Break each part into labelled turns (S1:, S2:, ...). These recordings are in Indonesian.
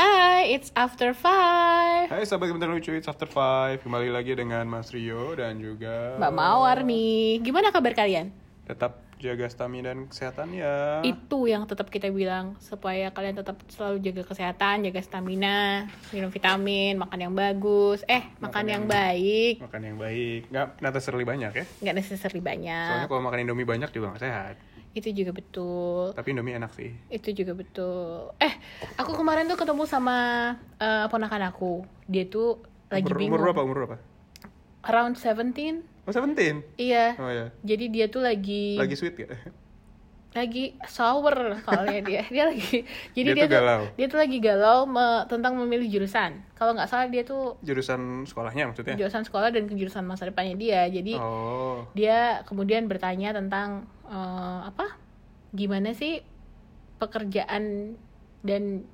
S1: Hai, it's after five.
S2: Hai sahabat Kementerian Lucu, it's after five Kembali lagi dengan Mas Rio dan juga
S1: Mbak Mawar nih. Gimana kabar kalian?
S2: Tetap jaga stamina dan kesehatan ya
S1: Itu yang tetap kita bilang supaya kalian tetap selalu jaga kesehatan, jaga stamina, minum vitamin, makan yang bagus, eh makan, yang, baik.
S2: Makan yang baik, nggak necessarily banyak ya
S1: Nggak necessary banyak.
S2: Soalnya kalau makan Indomie banyak juga nggak sehat
S1: Itu juga betul.
S2: Tapi Indomie enak sih
S1: Itu juga betul. Eh, aku kemarin tuh ketemu sama eh, ponakan aku. Dia tuh lagi
S2: umur,
S1: bingung.
S2: umur berapa? Umur berapa?
S1: Around 17.
S2: Oh 17?
S1: Iya.
S2: Oh ya
S1: Jadi dia tuh lagi
S2: Lagi sweet gak?
S1: lagi sour soalnya dia dia lagi jadi
S2: Dia
S1: dia,
S2: tuh
S1: tuh
S2: galau.
S1: dia tuh lagi galau me- tentang memilih jurusan kalau nggak salah dia tuh
S2: Jurusan sekolahnya maksudnya?
S1: jurusan sekolah dan kejurusan masa depannya dia jadi
S2: Iya. Oh
S1: dia kemudian bertanya tentang eh, apa gimana sih pekerjaan dan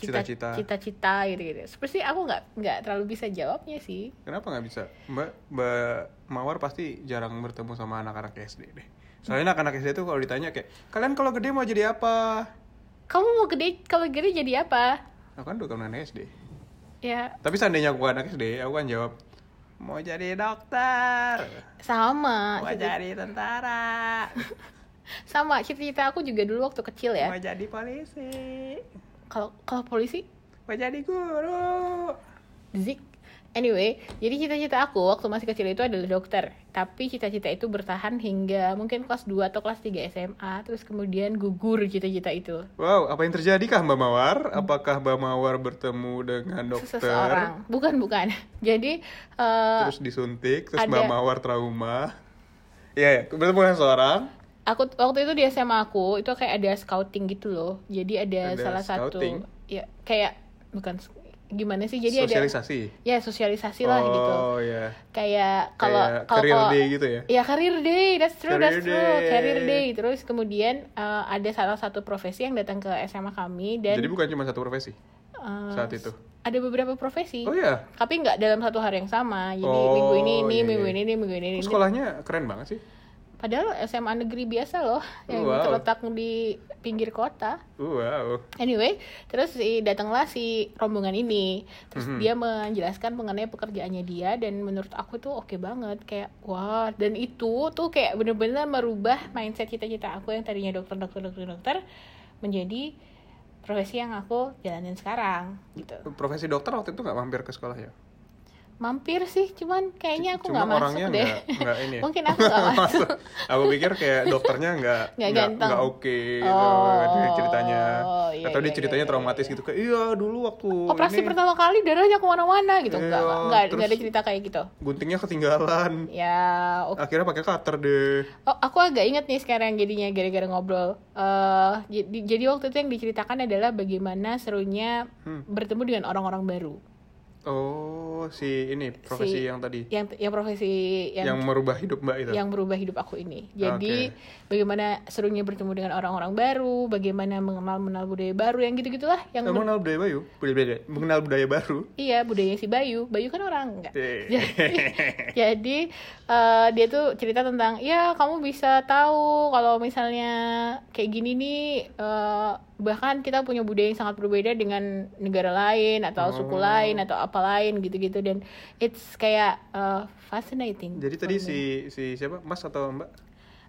S2: Cita-cita.
S1: cita-cita cita-cita gitu-gitu seperti aku nggak nggak terlalu bisa jawabnya sih
S2: Kenapa nggak bisa? Mbak Mbak Mawar pasti jarang bertemu sama anak-anak SD deh. Soalnya anak-anak SD tuh kalau ditanya kayak, kalian kalau gede mau jadi apa?
S1: kamu mau gede kalau gede jadi apa
S2: Aku kan bukan anak SD.
S1: ya
S2: Tapi seandainya aku anak SD, aku kan jawab, mau jadi dokter,
S1: sama
S2: mau
S1: cita-
S2: jadi tentara,
S1: sama cita-cita aku juga dulu waktu kecil ya
S2: mau jadi polisi,
S1: kalau kalau polisi
S2: mau jadi guru.
S1: zik anyway jadi cita-cita aku waktu masih kecil itu adalah dokter tapi cita-cita itu bertahan hingga mungkin kelas 2 atau kelas 3 SMA terus kemudian gugur cita-cita itu
S2: Wow, apa yang terjadi kah Mbak Mawar? Apakah Mbak Mawar bertemu dengan dokter?
S1: seseorang bukan bukan jadi eh,
S2: Terus disuntik,
S1: Ada.
S2: terus Mbak Mawar trauma. Ya, ya, bertemu dengan seorang.
S1: aku waktu itu di SMA aku itu kayak ada scouting gitu loh jadi ada,
S2: Ada
S1: salah
S2: scouting?
S1: satu ya kayak bukan gimana sih jadi ada
S2: sosialisasi.
S1: ya sosialisasi lah gitu
S2: Oh ya.
S1: kayak kalau
S2: Kayak
S1: kalau
S2: career
S1: kalau-
S2: day gitu ya?
S1: Iya career day, that's true,
S2: Career
S1: that's true,
S2: day.
S1: career day. Terus kemudian eh, ada salah satu profesi yang datang ke SMA kami dan
S2: Jadi bukan cuma satu profesi
S1: eh,
S2: saat itu.
S1: ada beberapa profesi,
S2: Oh ya.
S1: tapi nggak dalam satu hari yang sama. Jadi
S2: Oh,
S1: minggu ini ini,
S2: iya,
S1: minggu
S2: iya.
S1: ini ini, minggu ini ini.
S2: Sekolahnya keren banget sih.
S1: Padahal SMA negeri biasa loh, yang
S2: Wow.
S1: terletak di pinggir kota.
S2: Wow.
S1: Anyway, terus si datanglah si rombongan ini. Terus
S2: Mhm.
S1: dia menjelaskan mengenai pekerjaannya dia dan menurut aku tuh oke banget kayak wah dan itu tuh kayak bener-bener merubah mindset cita-cita aku yang tadinya dokter dokter dokter dokter menjadi profesi yang aku jalanin sekarang gitu.
S2: Profesi dokter waktu itu nggak mampir ke sekolah ya?
S1: Mampir sih, cuman kayaknya aku
S2: Cuma
S1: nggak masuk
S2: orangnya
S1: deh.
S2: nggak- nggak ini ya?
S1: Mungkin aku nggak masuk.
S2: Aku pikir kayak dokternya nggak
S1: Nggak
S2: nggak
S1: ganteng.
S2: nggak oke gitu,
S1: Oh,
S2: dia ceritanya
S1: iya,
S2: atau dia
S1: iya,
S2: ceritanya
S1: iya,
S2: traumatis gitu kayak iya dulu waktu
S1: Operasi
S2: ini
S1: pertama kali darahnya kemana-mana gitu, nggak
S2: Iya,
S1: nggak- nggak nggak ada
S2: terus-
S1: cerita kayak gitu.
S2: guntingnya ketinggalan.
S1: Ya, oke.
S2: Akhirnya pakai cutter deh.
S1: Oh, aku agak inget nih sekarang jadinya gara-gara ngobrol. eh jadi, jadi waktu itu yang diceritakan adalah bagaimana serunya
S2: Hmm.
S1: bertemu dengan orang-orang baru.
S2: Oh, si ini profesi
S1: Si-
S2: yang tadi
S1: Yang yang profesi yang
S2: yang,
S1: yang,
S2: merubah hidup Mbak itu.
S1: berubah hidup aku ini. Jadi
S2: Oke.
S1: bagaimana serunya bertemu dengan orang-orang baru, bagaimana mengenal mengenal budaya baru yang gitu-gitulah yang
S2: Kamu Eh, mengenal budaya baru? Budaya- budaya- Mengenal budaya baru?
S1: Iya, budayanya si Bayu. Bayu kan orang enggak.
S2: Eh.
S1: Jadi, jadi, eh, dia tuh cerita tentang, ya kamu bisa tahu kalau misalnya kayak gini nih, eh, bahkan kita punya budaya yang sangat berbeda dengan negara lain
S2: Oh.
S1: atau suku lain atau apa lain gitu-gitu dan it's kayak eh, fascinating.
S2: Jadi tadi si si siapa? Mas atau Mbak?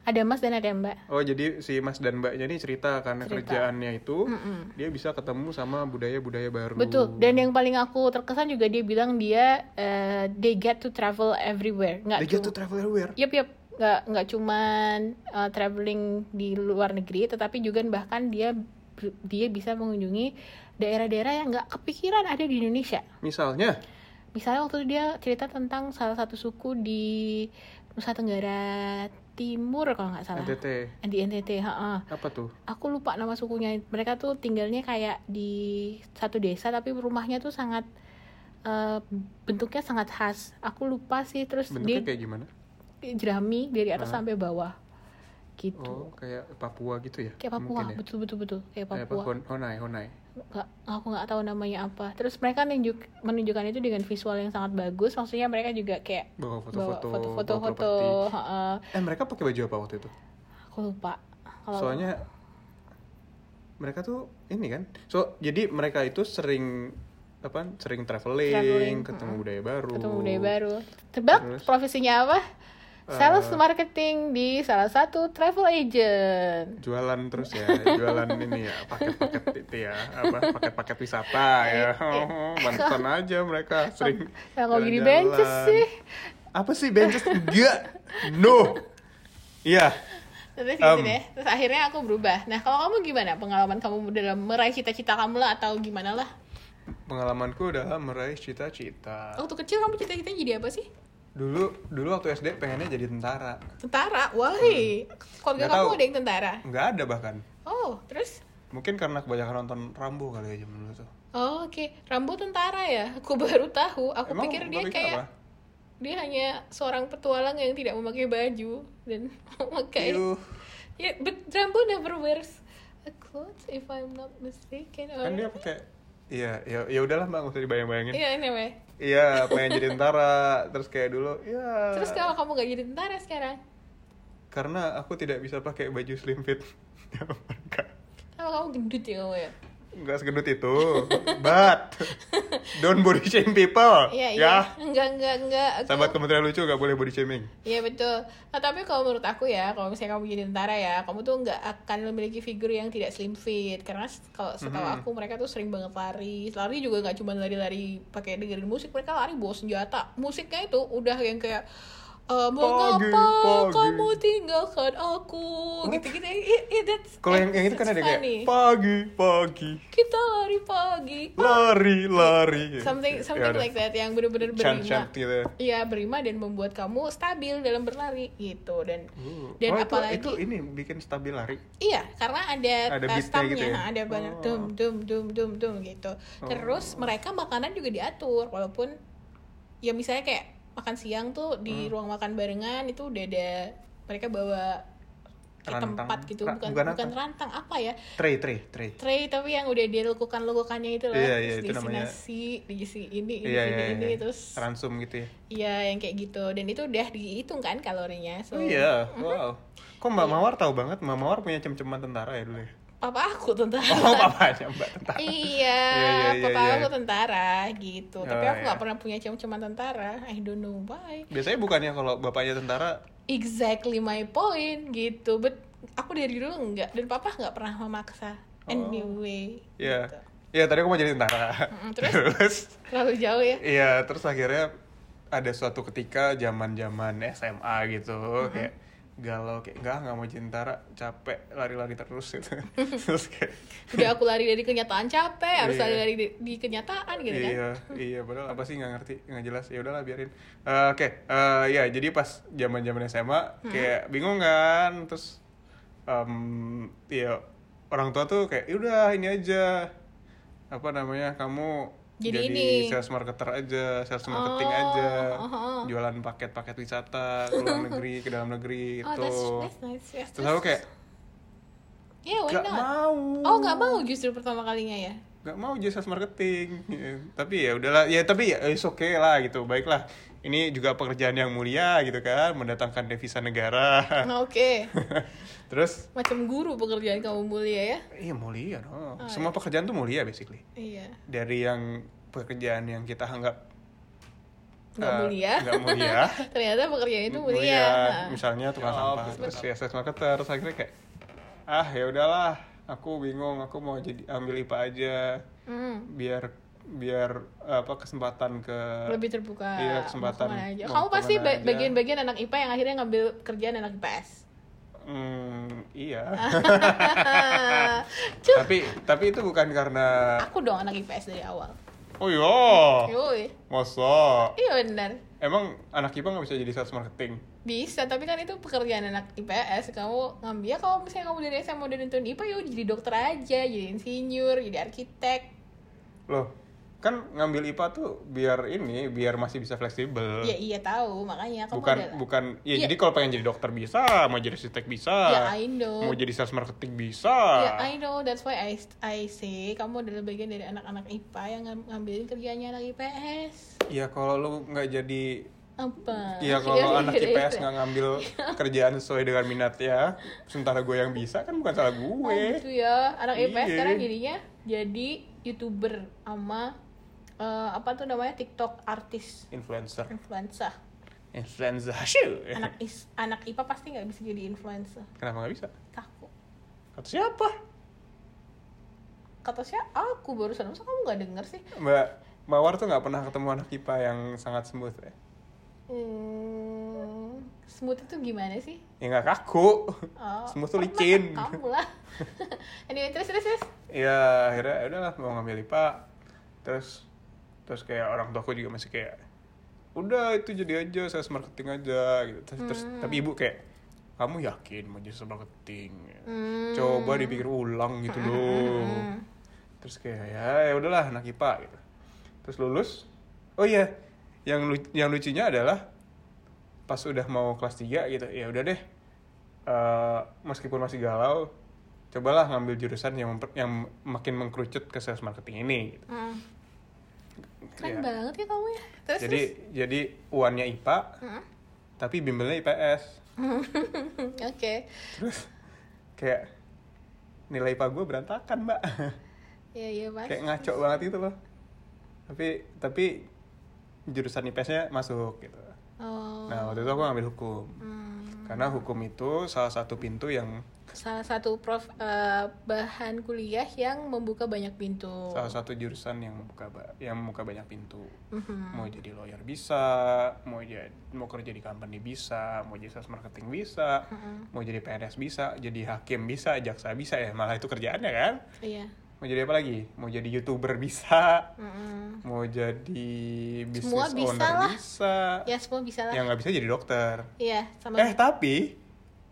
S1: Ada Mas dan ada Mbak.
S2: Oh, jadi si Mas dan Mbaknya ini cerita karena kerjaannya itu dia bisa ketemu sama budaya-budaya baru.
S1: Betul. Dan yang paling aku terkesan juga dia bilang dia eh, they get to travel everywhere. Nggak
S2: They get to travel everywhere.
S1: Yap, yap. Nggak, nggak cuman uh, traveling di luar negeri, tetapi juga bahkan dia dia bisa mengunjungi daerah-daerah yang nggak kepikiran ada di Indonesia.
S2: Misalnya,
S1: Misalnya waktu itu dia cerita tentang salah satu suku di Nusa Tenggara Timur kalau nggak salah.
S2: NTT.
S1: Di NTT, ha-ha.
S2: Apa tuh?
S1: Aku lupa nama sukunya. Mereka tuh tinggalnya kayak di satu desa, tapi rumahnya tuh sangat eh, bentuknya sangat khas. Aku lupa sih. Terus dia
S2: Bentuknya kayak gimana?
S1: jerami dari atas sampai bawah gitu
S2: Oh, kayak Papua gitu ya?
S1: kayak Papua
S2: Mungkin ya?
S1: betul betul betul kayak
S2: Eh, apa?
S1: Papua
S2: Hon- Honai, Honai.
S1: nggak aku nggak tahu namanya apa terus mereka nunjuk menunjukkan itu dengan visual yang sangat bagus maksudnya mereka juga kayak bawa
S2: Bawa foto-foto,
S1: foto
S2: bawa
S1: foto foto
S2: properti.
S1: heeh.
S2: Eh, mereka pakai baju apa waktu itu?
S1: aku lupa kalau
S2: Soalnya mereka tuh ini kan. So, jadi mereka itu sering apa sering traveling,
S1: Traveling,
S2: ketemu budaya baru
S1: ketemu budaya baru. Tebak
S2: uh, Terus? Uh,
S1: profesinya apa? Sales marketing di salah satu travel agent.
S2: jualan terus ya jualan ini ya paket-paket itu ya apa paket-paket wisata ya mantan aja mereka sering
S1: Ya, Iya. kok gini
S2: jalan-jalan.
S1: benches sih?
S2: apa sih benches enggak no iya
S1: Terus gitu
S2: Um.
S1: deh. Terus akhirnya aku berubah. Nah, kalau kamu gimana pengalaman kamu dalam meraih cita-cita kamu lah atau gimana lah?
S2: pengalamanku adalah meraih cita-cita
S1: Waktu kecil kamu cita-citanya jadi apa sih?
S2: dulu dulu waktu SD pengennya jadi tentara
S1: Tentara. Wahai. Keluarga
S2: Hmm. Nggak
S1: kamu
S2: tahu.
S1: ada yang tentara.
S2: nggak ada bahkan
S1: Oh, terus
S2: mungkin karena kebanyakan nonton Rambo kali ya zaman dulu tuh
S1: Oh, oke. Rambo tentara ya. Aku baru tahu. Aku
S2: Emang
S1: pikir
S2: kau
S1: dia kayak
S2: apa?
S1: dia hanya seorang petualang yang tidak memakai baju dan memakai
S2: Iuh, Iya.
S1: Ya, but Rambo never wears a clothes if I'm not mistaken. Or...
S2: kan dia pakai iya ya ya udahlah mbak nggak usah dibayang-bayangin
S1: Iya, anyway.
S2: Iya, pengen jadi tentara. Terus kayak dulu, ya.
S1: Terus kalau kamu gak jadi tentara sekarang?
S2: Karena aku tidak bisa pakai baju slim fit. Enggak.
S1: Kalau kamu gendut ya kamu ya?
S2: Enggak segedut itu. But don't body shame people.
S1: Iya, iya.
S2: ya.
S1: Enggak, enggak, enggak. Aku-
S2: Sahabat Kementerian Lucu gak boleh body shaming.
S1: Iya betul. Nah, tapi kalau menurut aku ya, kalau misalnya kamu jadi tentara ya, kamu tuh nggak akan memiliki figur yang tidak slim fit karena s- kalau setahu
S2: Mhm.
S1: aku mereka tuh sering banget lari. Lari juga nggak cuma lari-lari pakai dengerin musik, mereka lari bawa senjata. Musiknya itu udah yang kayak eh, mengapa
S2: pagi."
S1: kamu tinggalkan aku gitu-gitu. Iya, iya, that's-
S2: Kalau yang yang itu kan
S1: it's
S2: ada kayak
S1: funny.
S2: pagi, pagi,
S1: kita lari pagi.
S2: lari, lari. Ya Iya,
S1: Something something like that yang bener-bener
S2: chant
S1: berima.
S2: chant gitu.
S1: Iya, berima dan membuat kamu stabil dalam berlari gitu dan
S2: Uh,
S1: dan
S2: oh, itu-
S1: apalagi
S2: itu, ini bikin stabil lari.
S1: Iya, karena ada,
S2: Ada
S1: uh,
S2: beatnya
S1: stamnya,
S2: gitu ya?
S1: ha, ada banyak
S2: Oh.
S1: dum dum dum dum dum gitu. Terus mereka makanan juga diatur, walaupun ya misalnya kayak makan siang tuh di
S2: Hmm.
S1: ruang makan barengan itu udah ada mereka bawa ke
S2: Rantang.
S1: tempat gitu,
S2: Ra-
S1: bukan
S2: bukan
S1: bukan,
S2: rantang.
S1: rantang apa ya?
S2: Tray, tray, tray.
S1: Tray tapi yang udah dia lekukan-lekukannya itu loh,
S2: Iya, iya,
S1: terus
S2: itu
S1: diisi
S2: namanya.
S1: nasi, diisi ini, ini,
S2: Iya,
S1: ini,
S2: iya,
S1: ini,
S2: iya.
S1: terus
S2: Ransum gitu ya.
S1: Iya, yang kayak gitu. Dan itu udah dihitung kan kalorinya. So, mm-hmm. Iya.
S2: Oh iya, wow. Kok Mbak Mawar tahu banget? Mbak Mawar punya cem-ceman tentara ya dulu ya?
S1: papa aku tentara.
S2: Oh, papanya Mbak tentara.
S1: iya,
S2: Iya, iya, iya,
S1: papa
S2: iya.
S1: aku tentara gitu. Tapi
S2: Oh,
S1: aku nggak
S2: iya.
S1: pernah punya cium-ciuman tentara. I don't know why.
S2: Biasanya bukannya kalau bapaknya tentara,
S1: Exactly my point gitu. But aku dari dulu nggak dan papa nggak pernah memaksa. Anyway.
S2: ya.
S1: gitu.
S2: Oh. Iya, tadi aku mau jadi tentara.
S1: Mm-mm, terus?
S2: Terus?
S1: Terlalu jauh ya.
S2: Iya, terus akhirnya ada suatu ketika zaman-zaman SMA gitu,
S1: Mm-hmm.
S2: kayak galau kayak enggak nggak mau jadi tentara capek lari-lari terus gitu terus kayak
S1: Udah aku lari dari kenyataan capek, harus
S2: Iya.
S1: lari dari di, di kenyataan gitu kan.
S2: iya iya padahal apa sih nggak ngerti nggak jelas ya udahlah biarin Eh, oke eh, ya jadi pas zaman zaman SMA
S1: Hmm.
S2: kayak bingung kan terus em ya orang tua tuh kayak "Ya udah ini aja apa namanya kamu
S1: Jadi
S2: jadi,
S1: ini."
S2: sales marketer aja sales marketing
S1: Oh,
S2: aja
S1: aha.
S2: jualan paket paket wisata ke luar negeri ke dalam negeri
S1: Oh,
S2: gitu
S1: that's, that's nice. Yes,
S2: terus aku kayak
S1: Yeah, why
S2: gak
S1: not?
S2: mau
S1: Oh, nggak mau justru pertama kalinya ya.
S2: nggak mau jadi sales marketing Ya, tapi ya udahlah ya tapi ya it's okay lah gitu baiklah ini juga pekerjaan yang mulia gitu kan mendatangkan devisa negara
S1: Nah, Oke.
S2: terus
S1: Macam guru pekerjaan kamu mulia ya.
S2: iya mulia dong
S1: Oh,
S2: semua pekerjaan tuh mulia basically
S1: Iya.
S2: dari yang pekerjaan yang kita anggap
S1: Nggak
S2: eh,
S1: mulia.
S2: nggak mulia
S1: Ternyata pekerjaan
S2: Oh,
S1: itu mulia.
S2: iya,
S1: Nah.
S2: misalnya tukang sampah terus ya sales marketer terus akhirnya kayak ah ya udahlah aku bingung aku mau jadi ambil ipa aja
S1: Hmm,
S2: biar biar apa kesempatan ke
S1: lebih terbuka.
S2: Iya, kesempatan.
S1: mau kemana aja.
S2: Mau
S1: Kamu pasti
S2: kemana
S1: ba-
S2: aja.
S1: bagian-bagian anak IPA yang akhirnya ngambil kerjaan anak IPS.
S2: Hmm, iya.
S1: Ah. Cuk,
S2: tapi tapi itu bukan karena
S1: aku dong anak IPS dari awal.
S2: oh iya.
S1: Yoi.
S2: Masa?
S1: Iya benar.
S2: Emang anak IPA nggak bisa jadi sales marketing?
S1: Bisa, tapi kan itu pekerjaan anak IPS. Kamu ngambil ya kalau misalnya kamu dari SMA udah nonton IPA ya udah jadi dokter aja, jadi insinyur, jadi arsitek.
S2: Loh, kan ngambil IPA tuh biar ini biar masih bisa fleksibel.
S1: Ya iya tahu, makanya kamu
S2: bukan
S1: adalah-
S2: bukan ya
S1: Iya.
S2: jadi kalau pengen jadi dokter bisa, mau jadi arsitek bisa.
S1: Ya, I know.
S2: Mau jadi sales marketing bisa.
S1: Ya, I know. That's why I I say kamu adalah bagian dari anak-anak IPA yang ngam- ngambilin kerjanya anak IPS.
S2: Ya kalau lu nggak jadi
S1: Apa?
S2: Iya kalau anak IPS nggak ngambil kerjaan sesuai dengan minatnya, sementara gue yang bisa kan bukan salah
S1: Oh,
S2: gue.
S1: gitu ya. Anak IPS
S2: Iya.
S1: sekarang jadinya jadi YouTuber sama eh, apa tuh namanya TikTok artis
S2: influencer
S1: influencer
S2: influencer Shoo.
S1: anak is anak IPA pasti nggak bisa jadi influencer
S2: kenapa nggak bisa
S1: takut
S2: kata siapa
S1: kata saya aku barusan masa kamu nggak denger sih
S2: mbak mawar tuh nggak pernah ketemu anak ipa yang sangat smooth ya
S1: hmm, smooth itu gimana sih
S2: ya nggak kaku
S1: Oh,
S2: Smooth tuh
S1: pernah
S2: licin.
S1: kan kamu lah anyway terus terus terus
S2: ya akhirnya ya udahlah mau ngambil IPA terus terus kayak orang tuaku juga masih kayak udah itu jadi aja sales marketing aja gitu terus, terus- tapi ibu kayak kamu yakin mau jadi sales marketing
S1: Hmm.
S2: coba dipikir ulang gitu loh terus kayak ya ya udahlah anak IPA gitu terus lulus oh iya yang lu- yang lucunya adalah pas udah mau kelas 3 gitu ya udah deh Eh, meskipun masih galau cobalah ngambil jurusan yang memper- yang makin mengkerucut ke sales marketing ini gitu.
S1: Hmm. keren
S2: Ya.
S1: banget ya kamu ya terus
S2: jadi jadi uannya IPA
S1: Hmm.
S2: tapi bimbelnya IPS
S1: terus oke
S2: terus kayak nilai IPA gue berantakan mbak
S1: ya ya mas
S2: kayak ngaco banget gitu loh tapi tapi jurusan IPS-nya masuk gitu
S1: oh
S2: nah waktu itu aku ngambil hukum
S1: hmm.
S2: karena hukum itu salah satu pintu yang
S1: salah satu prof eh, bahan kuliah yang membuka banyak pintu
S2: salah satu jurusan yang membuka ba- yang membuka banyak pintu
S1: Mhm.
S2: mau jadi lawyer bisa mau jadi mau kerja di company bisa mau jadi sales marketing bisa
S1: Hmm,
S2: mau jadi PNS bisa jadi hakim bisa jaksa bisa ya malah itu kerjaannya kan
S1: iya
S2: mau jadi apa lagi mau jadi youtuber bisa
S1: Mm-mm.
S2: mau jadi business
S1: Semua bisa
S2: owner
S1: lah.
S2: bisa
S1: ya semua bisa lah
S2: yang nggak bisa jadi dokter
S1: iya sama
S2: eh tapi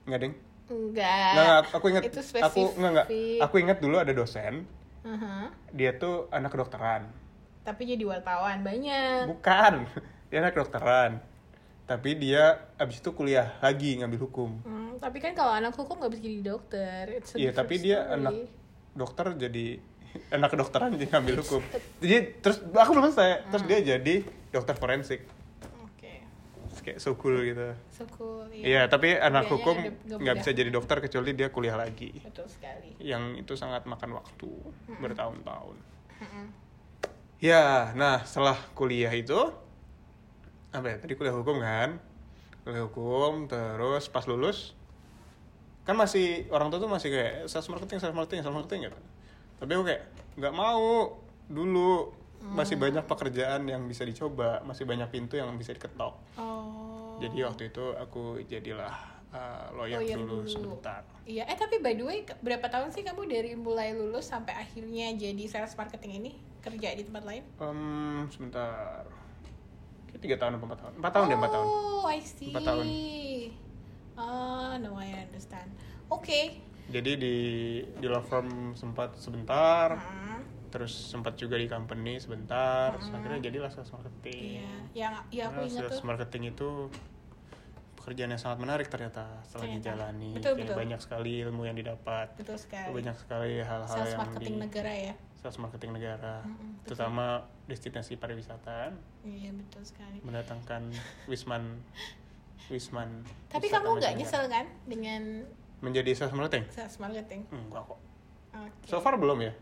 S2: nggak deng
S1: enggak
S2: nggak nggak, aku inget
S1: itu spesifik
S2: aku nggak nggak aku inget dulu ada dosen
S1: Mhm.
S2: dia tuh anak kedokteran
S1: tapi jadi wartawan banyak
S2: Bukan. Dia anak kedokteran. Tapi dia abis itu kuliah lagi ngambil hukum.
S1: Hmm, tapi kan kalau anak hukum nggak bisa jadi dokter It's a
S2: Iya, tapi
S1: different
S2: dia
S1: story.
S2: anak dokter jadi anak kedokteran jadi ngambil hukum. Jadi terus aku belum selesai. Terus
S1: Hmm.
S2: dia jadi dokter forensik.
S1: oke
S2: Terus Kayak so cool gitu.
S1: so cool
S2: Iya, tapi anak
S1: Kuliahnya
S2: hukum
S1: ada- nggak
S2: nggak
S1: mudah.
S2: bisa jadi dokter kecuali dia kuliah lagi.
S1: betul sekali
S2: Yang itu sangat makan waktu bertahun-tahun. Ya, nah setelah kuliah itu apa ya? Tadi kuliah hukum kan? Kuliah hukum terus pas lulus kan masih orang tua tuh masih kayak "Eh, sales marketing, sales marketing, sales marketing gitu. Tapi aku kayak nggak mau dulu
S1: Mm.
S2: masih banyak pekerjaan yang bisa dicoba, masih banyak pintu yang bisa diketok.
S1: oh
S2: Jadi waktu itu aku jadilah uh, lawyer,
S1: Lawyer dulu.
S2: dulu, sebentar.
S1: Iya, eh tapi by the way, ke- berapa tahun sih kamu dari mulai lulus sampai akhirnya jadi sales marketing ini kerja di tempat lain?
S2: Em, sebentar. Kayak tiga tahun atau empat tahun? Empat tahun deh, empat tahun.
S1: Oh, I see.
S2: Empat tahun.
S1: Ah, no, I understand. Oke.
S2: Jadi di di law firm sempat sebentar,
S1: Hmm,
S2: terus sempat juga di company sebentar, terus akhirnya jadilah sales marketing.
S1: Iya, yang ya aku
S2: Karena
S1: ingat
S2: Nah, sales
S1: tuh.
S2: marketing itu pekerjaan yang sangat menarik ternyata setelah
S1: Ternyata.
S2: dijalani.
S1: Betul,
S2: Kayak
S1: betul.
S2: banyak sekali ilmu yang didapat,
S1: Betul sekali.
S2: banyak sekali hal-hal
S1: sales
S2: yang
S1: marketing
S2: di
S1: negara ya.
S2: sales marketing negara,
S1: Mm-mm, betul.
S2: terutama destinasi pariwisata, kan,
S1: Iya, betul sekali.
S2: mendatangkan wisman wisman.
S1: Tapi
S2: wisata
S1: kamu nggak
S2: mancanegara.
S1: nyesel kan dengan
S2: menjadi sales marketing?
S1: sales marketing?
S2: Enggak kok.
S1: Oke.
S2: So far belum ya.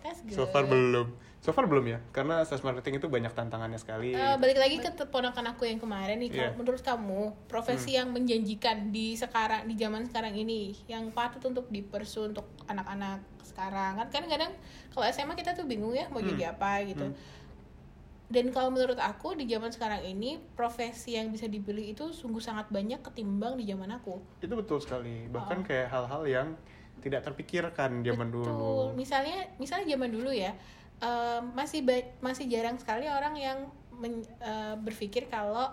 S1: That's good.
S2: So far belum. So far belum ya, karena sales marketing itu banyak tantangannya sekali.
S1: Eh, balik lagi ke keponakan aku yang kemarin nih,
S2: Iya. Hmm.
S1: kalau menurut kamu profesi yang menjanjikan di sekarang di zaman sekarang ini yang patut untuk dipersu untuk anak-anak sekarang kan kan kadang kalau SMA kita tuh bingung ya
S2: Hmm.
S1: mau jadi apa gitu. Dan kalau menurut aku di zaman sekarang ini profesi yang bisa dipilih itu sungguh sangat banyak ketimbang di zaman aku.
S2: Itu betul sekali. Bahkan kayak hal-hal yang tidak terpikirkan zaman
S1: Oh. Betul.
S2: dulu.
S1: Misalnya, misalnya zaman dulu ya, eh, masih ba- masih jarang sekali orang yang men- eh, berpikir kalau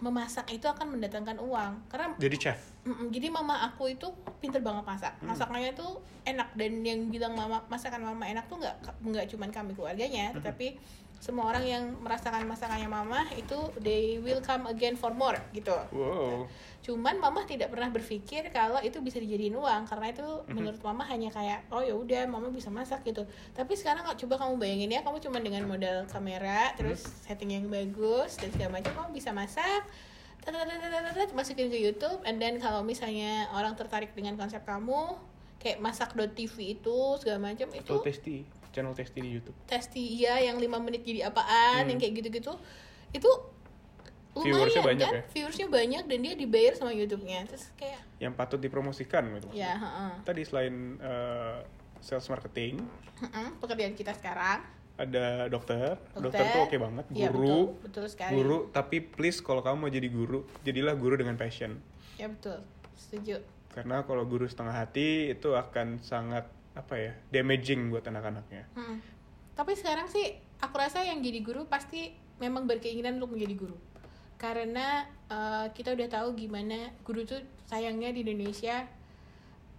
S1: memasak itu akan mendatangkan uang. Karena
S2: Jadi chef.
S1: Mm-mm, jadi mama aku itu pinter banget masak.
S2: Hmm.
S1: Masakannya tuh enak dan yang bilang mama masakan mama enak tuh nggak nggak cuman kami keluarganya,
S2: Hmm.
S1: tetapi semua orang yang merasakan masakannya mama itu they will come again for more gitu.
S2: Wow.
S1: Cuman mama tidak pernah berpikir kalau itu bisa dijadiin uang karena itu menurut mama hanya kayak oh ya udah mama bisa masak gitu. Tapi sekarang kalau coba kamu bayangin ya kamu cuma dengan modal kamera terus setting yang bagus dan segala macam kamu bisa masak. Tatatatatatat, masukin ke YouTube and then kalau misalnya orang tertarik dengan konsep kamu kayak masak.tv itu segala macam itu
S2: tasty. channel Testi di YouTube.
S1: Testi iya yang lima menit jadi apaan yang kayak gitu-gitu itu lumayan
S2: Hmm. Viewersnya banyak
S1: kan
S2: ya?
S1: viewersnya banyak dan dia dibayar sama YouTube-nya terus kayak
S2: Yang patut dipromosikan gitu. maksudnya.
S1: ya heeh.
S2: Tadi selain eh, sales marketing,
S1: Heeh, pekerjaan kita sekarang
S2: ada dokter. Dokter, tuh oke banget,
S1: Iya,
S2: guru.
S1: betul, betul sekali
S2: guru, tapi please kalau kamu mau jadi guru, jadilah guru dengan passion.
S1: ya betul setuju
S2: Karena kalau guru setengah hati itu akan sangat apa ya, damaging buat anak-anaknya.
S1: Heeh. tapi sekarang sih aku rasa yang jadi guru pasti memang berkeinginan untuk menjadi guru karena eh, kita udah tahu gimana guru tuh sayangnya di Indonesia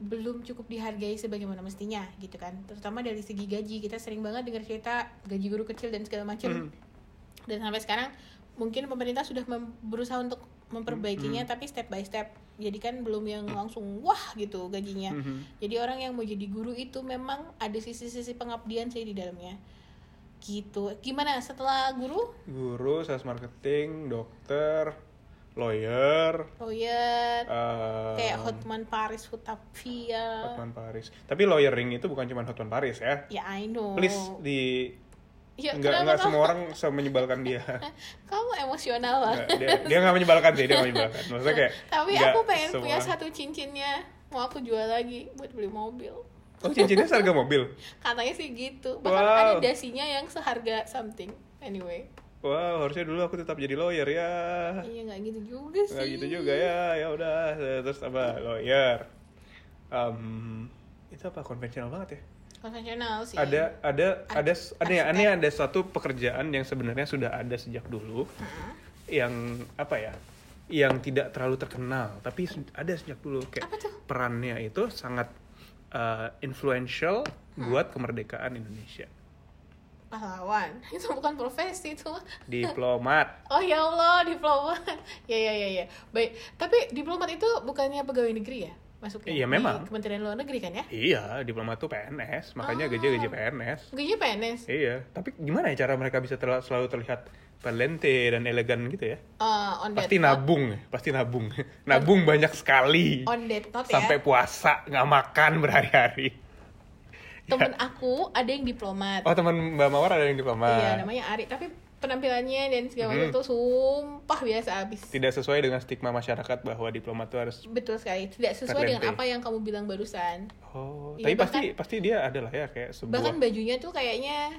S1: belum cukup dihargai sebagaimana mestinya gitu kan terutama dari segi gaji kita sering banget dengar cerita gaji guru kecil dan segala
S2: Hmm.
S1: macam dan sampai sekarang mungkin pemerintah sudah mem- berusaha untuk memperbaikinya tapi step by step jadi kan belum yang langsung wah gitu gajinya
S2: Mhm.
S1: jadi orang yang mau jadi guru itu memang ada sisi-sisi pengabdian sih di dalamnya gitu gimana setelah guru
S2: Guru, sales marketing, dokter, lawyer,
S1: lawyer
S2: eh,
S1: Oh iya. kayak Hotman Paris Hutapia
S2: Hotman Paris. Tapi lawyering itu bukan cuma Hotman Paris ya.
S1: ya I know
S2: Please di
S1: ya,
S2: nggak
S1: kenapa
S2: nggak
S1: kamu-
S2: semua orang semenyebalkan dia.
S1: kamu emosional lah
S2: Nggak, dia dia nggak menyebalkan sih, dia nggak menyebalkan. Maksudnya kayak
S1: tapi
S2: nggak
S1: aku pengen punya
S2: semua-
S1: satu cincinnya mau aku jual lagi buat beli mobil
S2: Oh, cincinnya seharga mobil.
S1: katanya sih gitu bahkan
S2: Wow.
S1: ada dasinya yang seharga something anyway
S2: Wow, harusnya dulu aku tetap jadi lawyer ya.
S1: iya nggak gitu juga sih
S2: Nggak gitu juga ya. Ya udah, terus apa? Lawyer. Em, itu apa konvensional banget ya?
S1: konvensional sih
S2: ada ada
S1: Iya.
S2: ada
S1: Arsitek.
S2: ada yang aneh ada suatu pekerjaan yang sebenarnya sudah ada sejak dulu yang apa ya yang tidak terlalu terkenal tapi se- ada sejak dulu kayak
S1: Apa tuh?
S2: perannya itu sangat uh, influential buat kemerdekaan Indonesia
S1: pahlawan itu bukan profesi itu mah.
S2: diplomat
S1: oh ya allah diplomat ya ya ya ya baik tapi diplomat itu bukannya pegawai negeri ya masuknya
S2: Iya,
S1: Di
S2: memang.
S1: kementerian luar negeri kan ya
S2: iya diplomat tuh PNS makanya
S1: Ah.
S2: gaji-gaji PNS
S1: gajinya PNS
S2: iya tapi gimana ya cara mereka bisa terla- selalu terlihat valente dan elegan gitu ya
S1: Eh, on that
S2: pasti nah.
S1: note-
S2: nabung ya, pasti nabung nabung banyak sekali
S1: on that note ya
S2: sampai puasa nggak makan berhari-hari.
S1: temen aku ada yang diplomat
S2: Oh teman Mbak Mawar ada yang diplomat.
S1: Iya namanya Ari tapi penampilannya dan
S2: Hmm.
S1: segala macam tuh sumpah biasa abis
S2: Tidak sesuai dengan stigma masyarakat bahwa diplomat itu harus.
S1: betul sekali tidak sesuai dengan
S2: Terlentang.
S1: apa yang kamu bilang barusan
S2: Oh,
S1: Iya,
S2: tapi pasti
S1: bahkan-
S2: pasti dia ada lah ya kayak sebuah.
S1: bahkan bajunya tuh kayaknya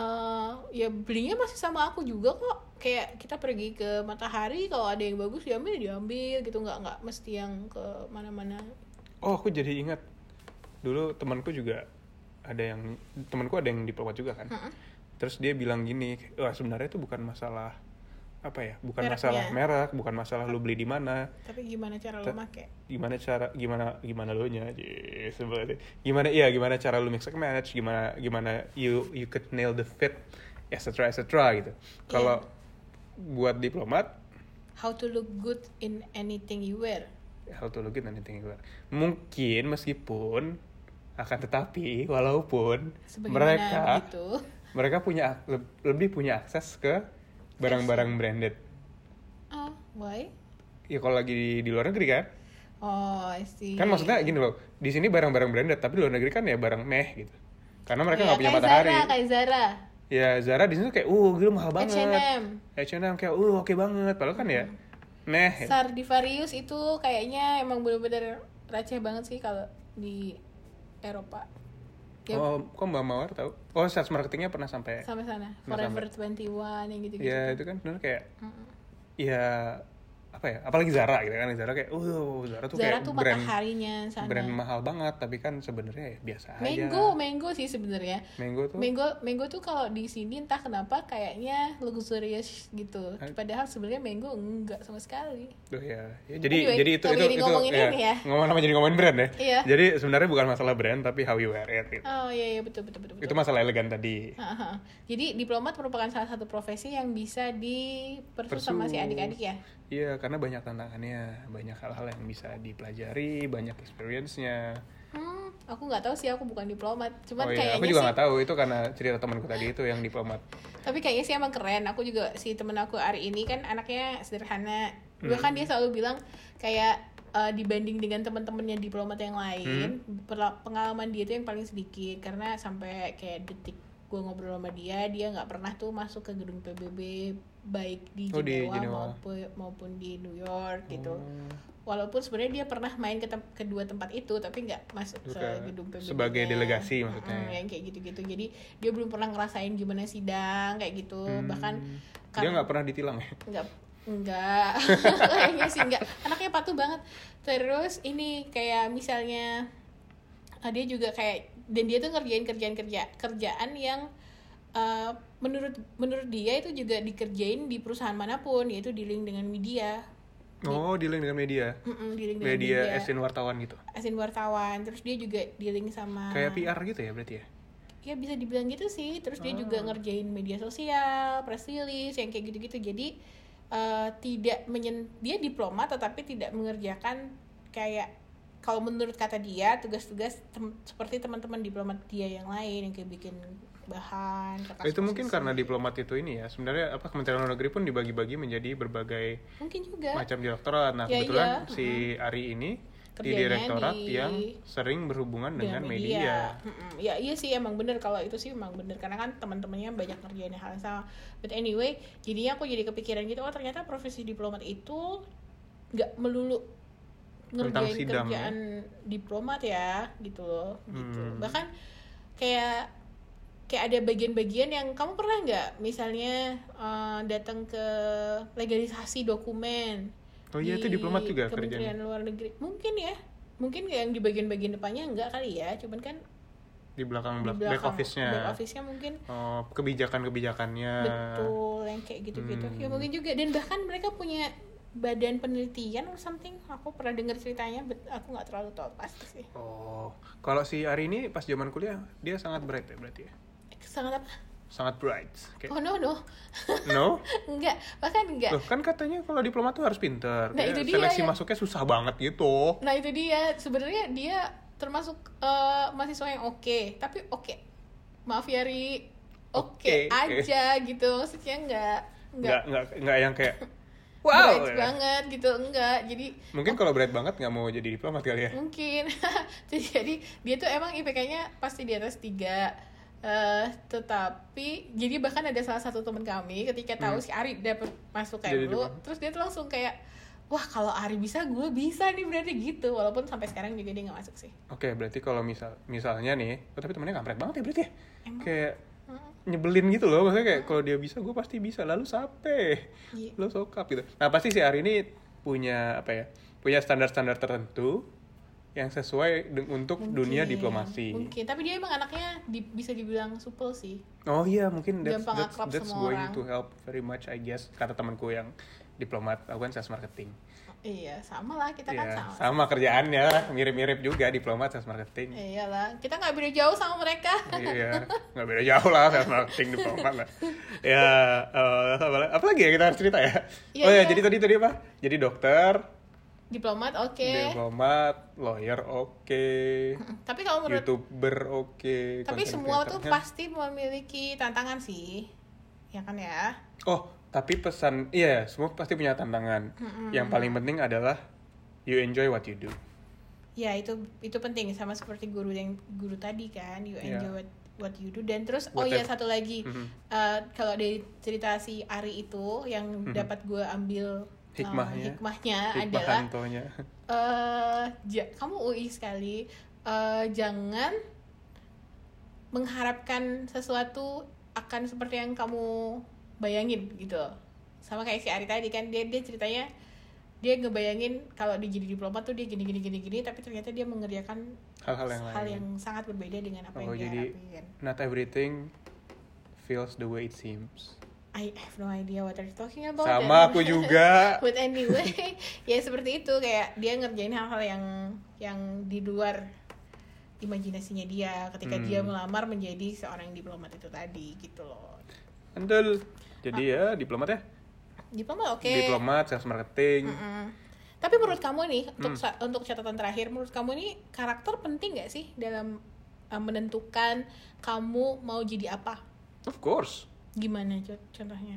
S1: eh, ya belinya masih sama aku juga kok kayak kita pergi ke matahari kalau ada yang bagus diambil ya diambil gitu nggak nggak mesti yang ke mana-mana
S2: Oh aku jadi ingat dulu temanku juga ada yang temanku ada yang diplomat juga
S1: Hmm.
S2: kan. Terus dia bilang gini, wah sebenarnya itu bukan masalah apa ya, bukan
S1: Mereknya.
S2: masalah merek, bukan masalah lu beli di mana,
S1: tapi gimana cara lo make
S2: gimana cara gimana gimana lu nya sebenarnya gimana iya gimana cara lu mix and match gimana gimana you you could nail the fit et cetera et cetera gitu
S1: Iya.
S2: kalau buat diplomat
S1: how to look good in anything you wear
S2: hal to login dan anything else. mungkin meskipun akan tetapi walaupun
S1: sebagaimana
S2: mereka
S1: gitu
S2: mereka punya ak- leb- lebih punya akses ke barang-barang branded
S1: oh why
S2: ya kalau lagi di, di luar negeri kan
S1: oh I see
S2: kan maksudnya gini loh di sini barang-barang branded tapi di luar negeri kan ya barang meh gitu karena mereka
S1: Oh
S2: nggak
S1: ya,
S2: punya
S1: kayak
S2: matahari
S1: Zara, kayak Zara.
S2: ya Zara di sini tuh kayak uh gila mahal banget
S1: H&M.
S2: H&M kayak uh oke banget padahal kan ya
S1: Hmm.
S2: meh ya.
S1: Sardivarius itu kayaknya emang bener-bener receh banget sih kalau di Eropa. Ya,
S2: oh kok Mbak Mawar tahu oh sales marketingnya pernah sampai
S1: sampai sana.
S2: Nah,
S1: Forever 21 yang gitu-gitu.
S2: ya itu kan benar kayak
S1: Hmm.
S2: ya apa ya apalagi Zara gitu kan Zara kayak uh Zara tuh
S1: Zara
S2: kayak
S1: tuh
S2: brand
S1: mataharinya sana.
S2: brand mahal banget tapi kan sebenarnya ya biasa
S1: Mango,
S2: aja
S1: mango sih sebenarnya.
S2: Mango tuh
S1: Mango, mango tuh kalau di sini entah kenapa kayaknya luxurious gitu.
S2: Eh.
S1: Padahal sebenarnya mango enggak sama sekali.
S2: Duh ya, ya jadi
S1: Anyway,
S2: jadi itu
S1: kalau
S2: itu
S1: jadi
S2: itu
S1: ngomongin ini ya.
S2: ngomong apa jadi ngomongin brand ya.
S1: Iya.
S2: Jadi sebenarnya bukan masalah brand tapi how you wear it. gitu.
S1: Oh iya iya betul betul betul. betul.
S2: Itu masalah elegan tadi.
S1: Haha. Jadi diplomat merupakan salah satu profesi yang bisa dipersus sama si
S2: Persus.
S1: adik-adik ya.
S2: Iya, karena banyak tantangannya, banyak hal-hal yang bisa dipelajari, banyak experience-nya.
S1: Hmm, aku nggak tahu sih aku bukan diplomat. Cuman
S2: Oh iya,
S1: kayaknya
S2: aku juga
S1: sih,
S2: nggak tahu itu karena cerita temanku tadi itu yang diplomat.
S1: tapi kayaknya sih emang keren. Aku kan
S2: Hmm.
S1: juga si temen aku Ari ini kan anaknya sederhana. Bahkan dia selalu bilang kayak e, eh, dibanding dengan teman-temannya diplomat yang lain
S2: Hmm.
S1: perla- pengalaman dia tuh yang paling sedikit karena sampai kayak detik gue ngobrol sama dia dia nggak pernah tuh masuk ke gedung PBB baik di Jenewa,
S2: Oh, di Jenewa. Oh.
S1: maupun maupun di New York gitu
S2: Hmm.
S1: walaupun sebenarnya dia pernah main ke tem- kedua tempat itu tapi nggak masuk ke
S2: Oke.
S1: gedung PBB -nya.
S2: Sebagai delegasi maksudnya.
S1: Mm, yang kayak gitu-gitu jadi dia belum pernah ngerasain gimana sidang kayak gitu
S2: Hmm.
S1: bahkan
S2: dia
S1: karena-
S2: nggak pernah ditilang ya
S1: nggak enggak kayaknya sih enggak anaknya patuh banget terus ini kayak misalnya ah, dia juga kayak dan dia tuh ngerjain kerjaan kerja kerjaan yang eh, menurut menurut dia itu juga dikerjain di perusahaan manapun yaitu dealing dengan media
S2: oh dealing dengan media
S1: Mm-mm, dealing dengan media,
S2: media esin wartawan gitu
S1: asin wartawan terus dia juga dealing sama
S2: kayak PR gitu ya berarti ya
S1: ya bisa dibilang gitu sih terus dia
S2: Ah.
S1: juga ngerjain media sosial press release yang kayak gitu-gitu jadi eh, tidak menyen dia diplomat tetapi tidak mengerjakan kayak kalau menurut kata dia tugas-tugas tem- seperti teman-teman diplomat dia yang lain yang kayak bikin bahan kertas
S2: itu mungkin
S1: posisi.
S2: karena diplomat itu ini ya sebenarnya apa Kementerian Luar Negeri pun dibagi-bagi menjadi berbagai
S1: mungkin juga
S2: macam direktorat nah
S1: Iya. Ya,
S2: kebetulan
S1: iya.
S2: si Ari ini di
S1: Kerjanya
S2: direktorat
S1: di-
S2: yang sering berhubungan dengan, media,
S1: Mm-mm. Ya iya sih emang bener kalau itu sih emang bener karena kan teman-temannya banyak kerjaan hal yang sama. But anyway, jadinya aku jadi kepikiran gitu oh ternyata profesi diplomat itu nggak melulu
S2: Tentang
S1: ngerjain
S2: sidang, ya?
S1: kerjaan diplomat ya gitu loh gitu.
S2: Hmm.
S1: Bahkan kayak kayak ada bagian-bagian yang kamu pernah nggak misalnya eh, datang ke legalisasi dokumen
S2: Oh iya, itu diplomat juga
S1: Kementerian Luar Negeri mungkin ya mungkin yang di bagian-bagian depannya enggak kali ya cuman kan
S2: di belakang,
S1: di
S2: belak-
S1: belakang
S2: back office-nya
S1: back office-nya mungkin
S2: Oh, kebijakan-kebijakannya
S1: betul yang kayak gitu-gitu ya
S2: Hmm.
S1: mungkin juga dan bahkan mereka punya badan penelitian or something aku pernah dengar ceritanya but aku nggak terlalu tahu pasti sih
S2: oh kalau si Ari ini pas zaman kuliah dia sangat bright ya berarti ya
S1: sangat apa
S2: sangat bright Kayak-
S1: oh no no
S2: no
S1: enggak bahkan enggak
S2: Loh, kan katanya kalau diplomat tuh harus pinter
S1: Iya. Nah,
S2: Kayak
S1: itu dia
S2: seleksi
S1: ya.
S2: masuknya susah banget gitu
S1: Nah itu dia sebenarnya dia termasuk eh, mahasiswa yang oke tapi oke maaf ya Ri oke
S2: Oke.
S1: aja gitu maksudnya nggak nggak
S2: nggak nggak nggak yang kayak
S1: wow.
S2: wow ya.
S1: banget gitu enggak jadi
S2: mungkin kalau bright banget nggak mau jadi diplomat kali ya
S1: mungkin Jadi- jadi dia tuh emang IPK-nya pasti di atas tiga eh tetapi jadi bahkan ada salah satu teman kami ketika tahu si Ari dapet masuk kayak
S2: Hmm. Jadi
S1: dulu
S2: diplomat.
S1: terus dia tuh langsung kayak wah kalau Ari bisa gue bisa nih berarti gitu walaupun sampai sekarang juga dia nggak masuk sih
S2: Oke, berarti kalau misal misalnya nih, oh, tapi temennya kampret banget ya berarti ya?
S1: Emang?
S2: Kayak
S1: Hmm,
S2: nyebelin gitu loh, maksudnya kayak kalau dia bisa, gue pasti bisa. Lalu sape,
S1: Iya.
S2: lalu sokap gitu. Nah pasti si Ari ini punya apa ya? Punya standar-standar tertentu yang sesuai deng- untuk dunia
S1: Mungkin,
S2: diplomasi.
S1: Mungkin, tapi dia emang anaknya di- bisa dibilang supel sih.
S2: Oh iya, mungkin that's
S1: Gampang
S2: that's,
S1: akrab
S2: that's
S1: sama
S2: going
S1: orang.
S2: to help very much I guess kata temanku yang diplomat, aku kan sales marketing.
S1: Iya, sama lah kita kan
S2: Iya,
S1: sama.
S2: sama kerjaannya, mirip-mirip juga diplomat sales marketing.
S1: Iyalah, kita nggak beda jauh sama mereka.
S2: iya nggak beda jauh lah sales marketing diplomat lah ya eh, apa lagi- apa lagi ya kita harus cerita ya
S1: Iya,
S2: oh ya
S1: iya.
S2: jadi tadi tadi apa jadi dokter
S1: Diplomat oke,
S2: diplomat lawyer oke
S1: tapi kalau menurut
S2: youtuber oke
S1: tapi
S2: content
S1: semua tuh
S2: creator-nya.
S1: pasti memiliki tantangan sih. Ya kan ya?
S2: oh tapi pesan iya semua pasti punya tantangan yang paling penting adalah you enjoy what you do
S1: Ya itu itu penting sama seperti guru yang guru tadi kan, you
S2: Iya.
S1: enjoy what, what you do dan terus oh
S2: What
S1: iya
S2: I-
S1: satu lagi.
S2: Mhm.
S1: Eh, kalau dari cerita si Ari itu yang dapat gue ambil eh,
S2: Hmm. Hikmahnya.
S1: hikmahnya
S2: hikmah
S1: Iya, adalah
S2: hantonya
S1: eh ja- kamu UI sekali eh, jangan mengharapkan sesuatu akan seperti yang kamu bayangin gitu sama kayak si Ari tadi kan dia dia ceritanya dia ngebayangin kalau dia jadi diplomat tuh dia gini gini gini gini tapi ternyata dia mengerjakan
S2: hal-hal yang
S1: hal
S2: lain
S1: yang sangat berbeda dengan apa yang
S2: Oh,
S1: dia
S2: jadi-
S1: harapin.
S2: not everything feels the way it seems
S1: I have no idea what are you talking about
S2: sama
S1: Dan-
S2: aku juga
S1: But anyway, ya seperti itu kayak dia ngerjain hal-hal yang yang di luar imajinasinya dia ketika
S2: Hmm.
S1: dia melamar menjadi seorang diplomat itu tadi gitu loh.
S2: Andel. Jadi ya diplomat ya.
S1: Diplomat oke.
S2: Diplomat, sales marketing.
S1: Mm-mm. Tapi menurut kamu nih untuk
S2: Hmm.
S1: sa- untuk catatan terakhir menurut kamu nih karakter penting gak sih dalam eh, menentukan kamu mau jadi apa?
S2: Of course.
S1: Gimana co- contohnya?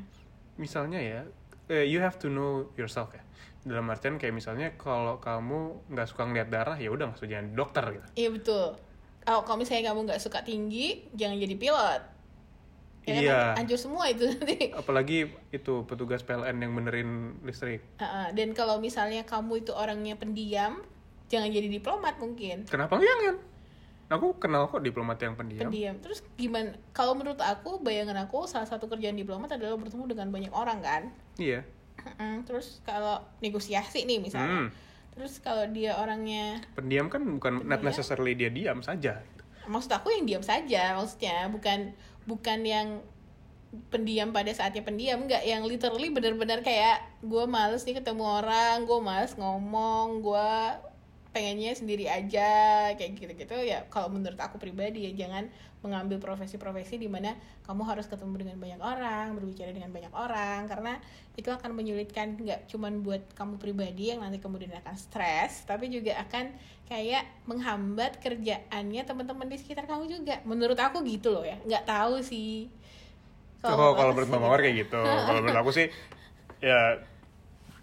S2: Misalnya ya, eh, you have to know yourself ya dalam artian kayak misalnya kalau kamu nggak suka ngeliat darah ya udah nggak usah jadi dokter gitu
S1: Iya betul. Oh, kalau misalnya kamu nggak suka tinggi, jangan jadi pilot. Ya kan,
S2: Iya.
S1: Hancur semua itu nanti.
S2: apalagi itu petugas PLN yang benerin listrik
S1: Ah, ah. Dan kalau misalnya kamu itu orangnya pendiam, jangan jadi diplomat mungkin.
S2: kenapa jangan aku kenal kok diplomat yang pendiam
S1: Pendiam. Terus gimana? Kalau menurut aku, bayangan aku salah satu kerjaan diplomat adalah bertemu dengan banyak orang kan.
S2: iya
S1: Mm-mm. Terus kalau negosiasi nih misalnya.
S2: Hmm.
S1: Terus kalau dia orangnya,
S2: pendiam kan bukan not necessarily dia diam saja
S1: maksud aku yang diam saja, maksudnya bukan bukan yang pendiam pada saatnya pendiam nggak yang literally benar-benar kayak gue males nih ketemu orang gue males ngomong gue pengennya sendiri aja kayak gitu-gitu ya kalau menurut aku pribadi ya jangan mengambil profesi-profesi di mana kamu harus ketemu dengan banyak orang berbicara dengan banyak orang karena itu akan menyulitkan nggak cuman buat kamu pribadi yang nanti kemudian akan stres tapi juga akan kayak menghambat kerjaannya teman-teman di sekitar kamu juga menurut aku gitu loh ya nggak tahu sih
S2: Oh, kalau menurut
S1: sih
S2: Mama Mawar kayak gitu. kalau menurut aku sih, ya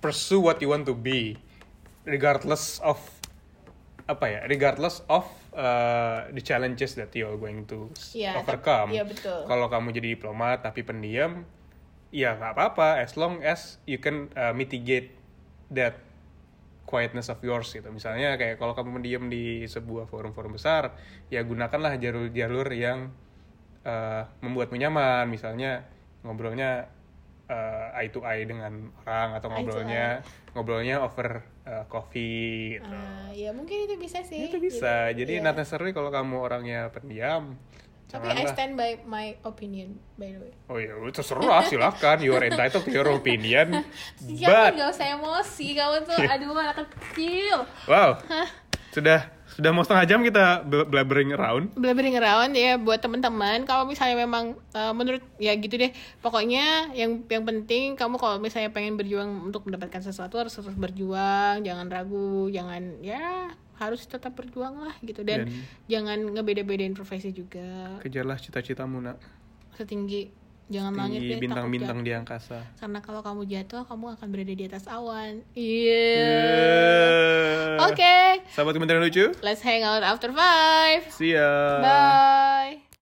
S2: pursue what you want to be, regardless of apa ya, regardless of uh, the challenges that you are going to s-
S1: Iya, tap-
S2: overcome.
S1: iya, betul.
S2: Kalau kamu jadi diplomat tapi pendiam, ya nggak apa-apa, as long as you can uh, mitigate that quietness of yours gitu. Misalnya kayak kalau kamu mendiam di sebuah forum-forum besar, ya gunakanlah jalur-jalur yang eh, membuatmu nyaman. Misalnya ngobrolnya eh, eye to eye dengan orang
S1: Eye
S2: atau
S1: to
S2: ngobrolnya ngobrolnya over eh, coffee gitu.
S1: Ah, ya mungkin itu bisa sih
S2: itu bisa.
S1: Gitu, iya.
S2: Jadi not necessarily kalau kamu orangnya pendiam,
S1: tapi I
S2: janganlah.
S1: stand by my opinion by the way
S2: Oh ya, terserah silakan. You are entitled to your opinion.
S1: Jangan
S2: Hmm. But
S1: nggak usah emosi kamu tuh aduh anak kecil
S2: wow, sudah sudah mau setengah jam kita bla- blabbering around.
S1: blabbering around ya buat teman-teman kalau misalnya memang eh, menurut ya gitu deh pokoknya yang yang penting kamu kalau misalnya pengen berjuang untuk mendapatkan sesuatu harus terus berjuang jangan ragu jangan ya harus tetap berjuang lah gitu dan,
S2: Dan-
S1: jangan ngebeda-bedain profesi juga
S2: Kejarlah cita-citamu nak
S1: setinggi jangan langit
S2: di
S1: deh, takut
S2: bintang-bintang di angkasa.
S1: jatuh. karena kalau kamu jatuh kamu akan berada di atas awan iya
S2: Yeah.
S1: oke
S2: Sahabat Kementerian Lucu,
S1: let's hang out after five
S2: see ya.
S1: bye